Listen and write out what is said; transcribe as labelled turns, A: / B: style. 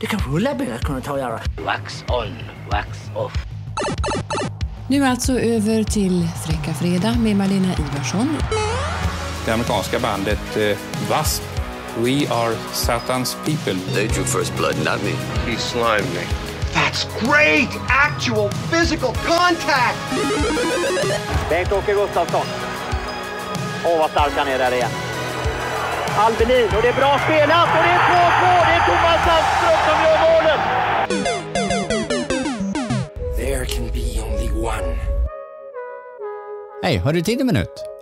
A: Det kanske Ulla Bella kunde ta och göra.
B: Wax on, wax off.
C: Nu alltså över till Fräcka Fredag med Malena Ivarsson.
D: Det amerikanska bandet eh, Wasp. We are Satan's people.
E: They drew first blood, not me.
F: He slimed me.
G: That's great! Actual physical contact!
H: Bengt-Åke Gustafsson. Åh, vad stark han är där igen. Albinin, och det är bra spelat och det är 2-2! Det är Thomas Sandström som gör målet!
I: There can be only one.
J: Hej, har du tid en minut?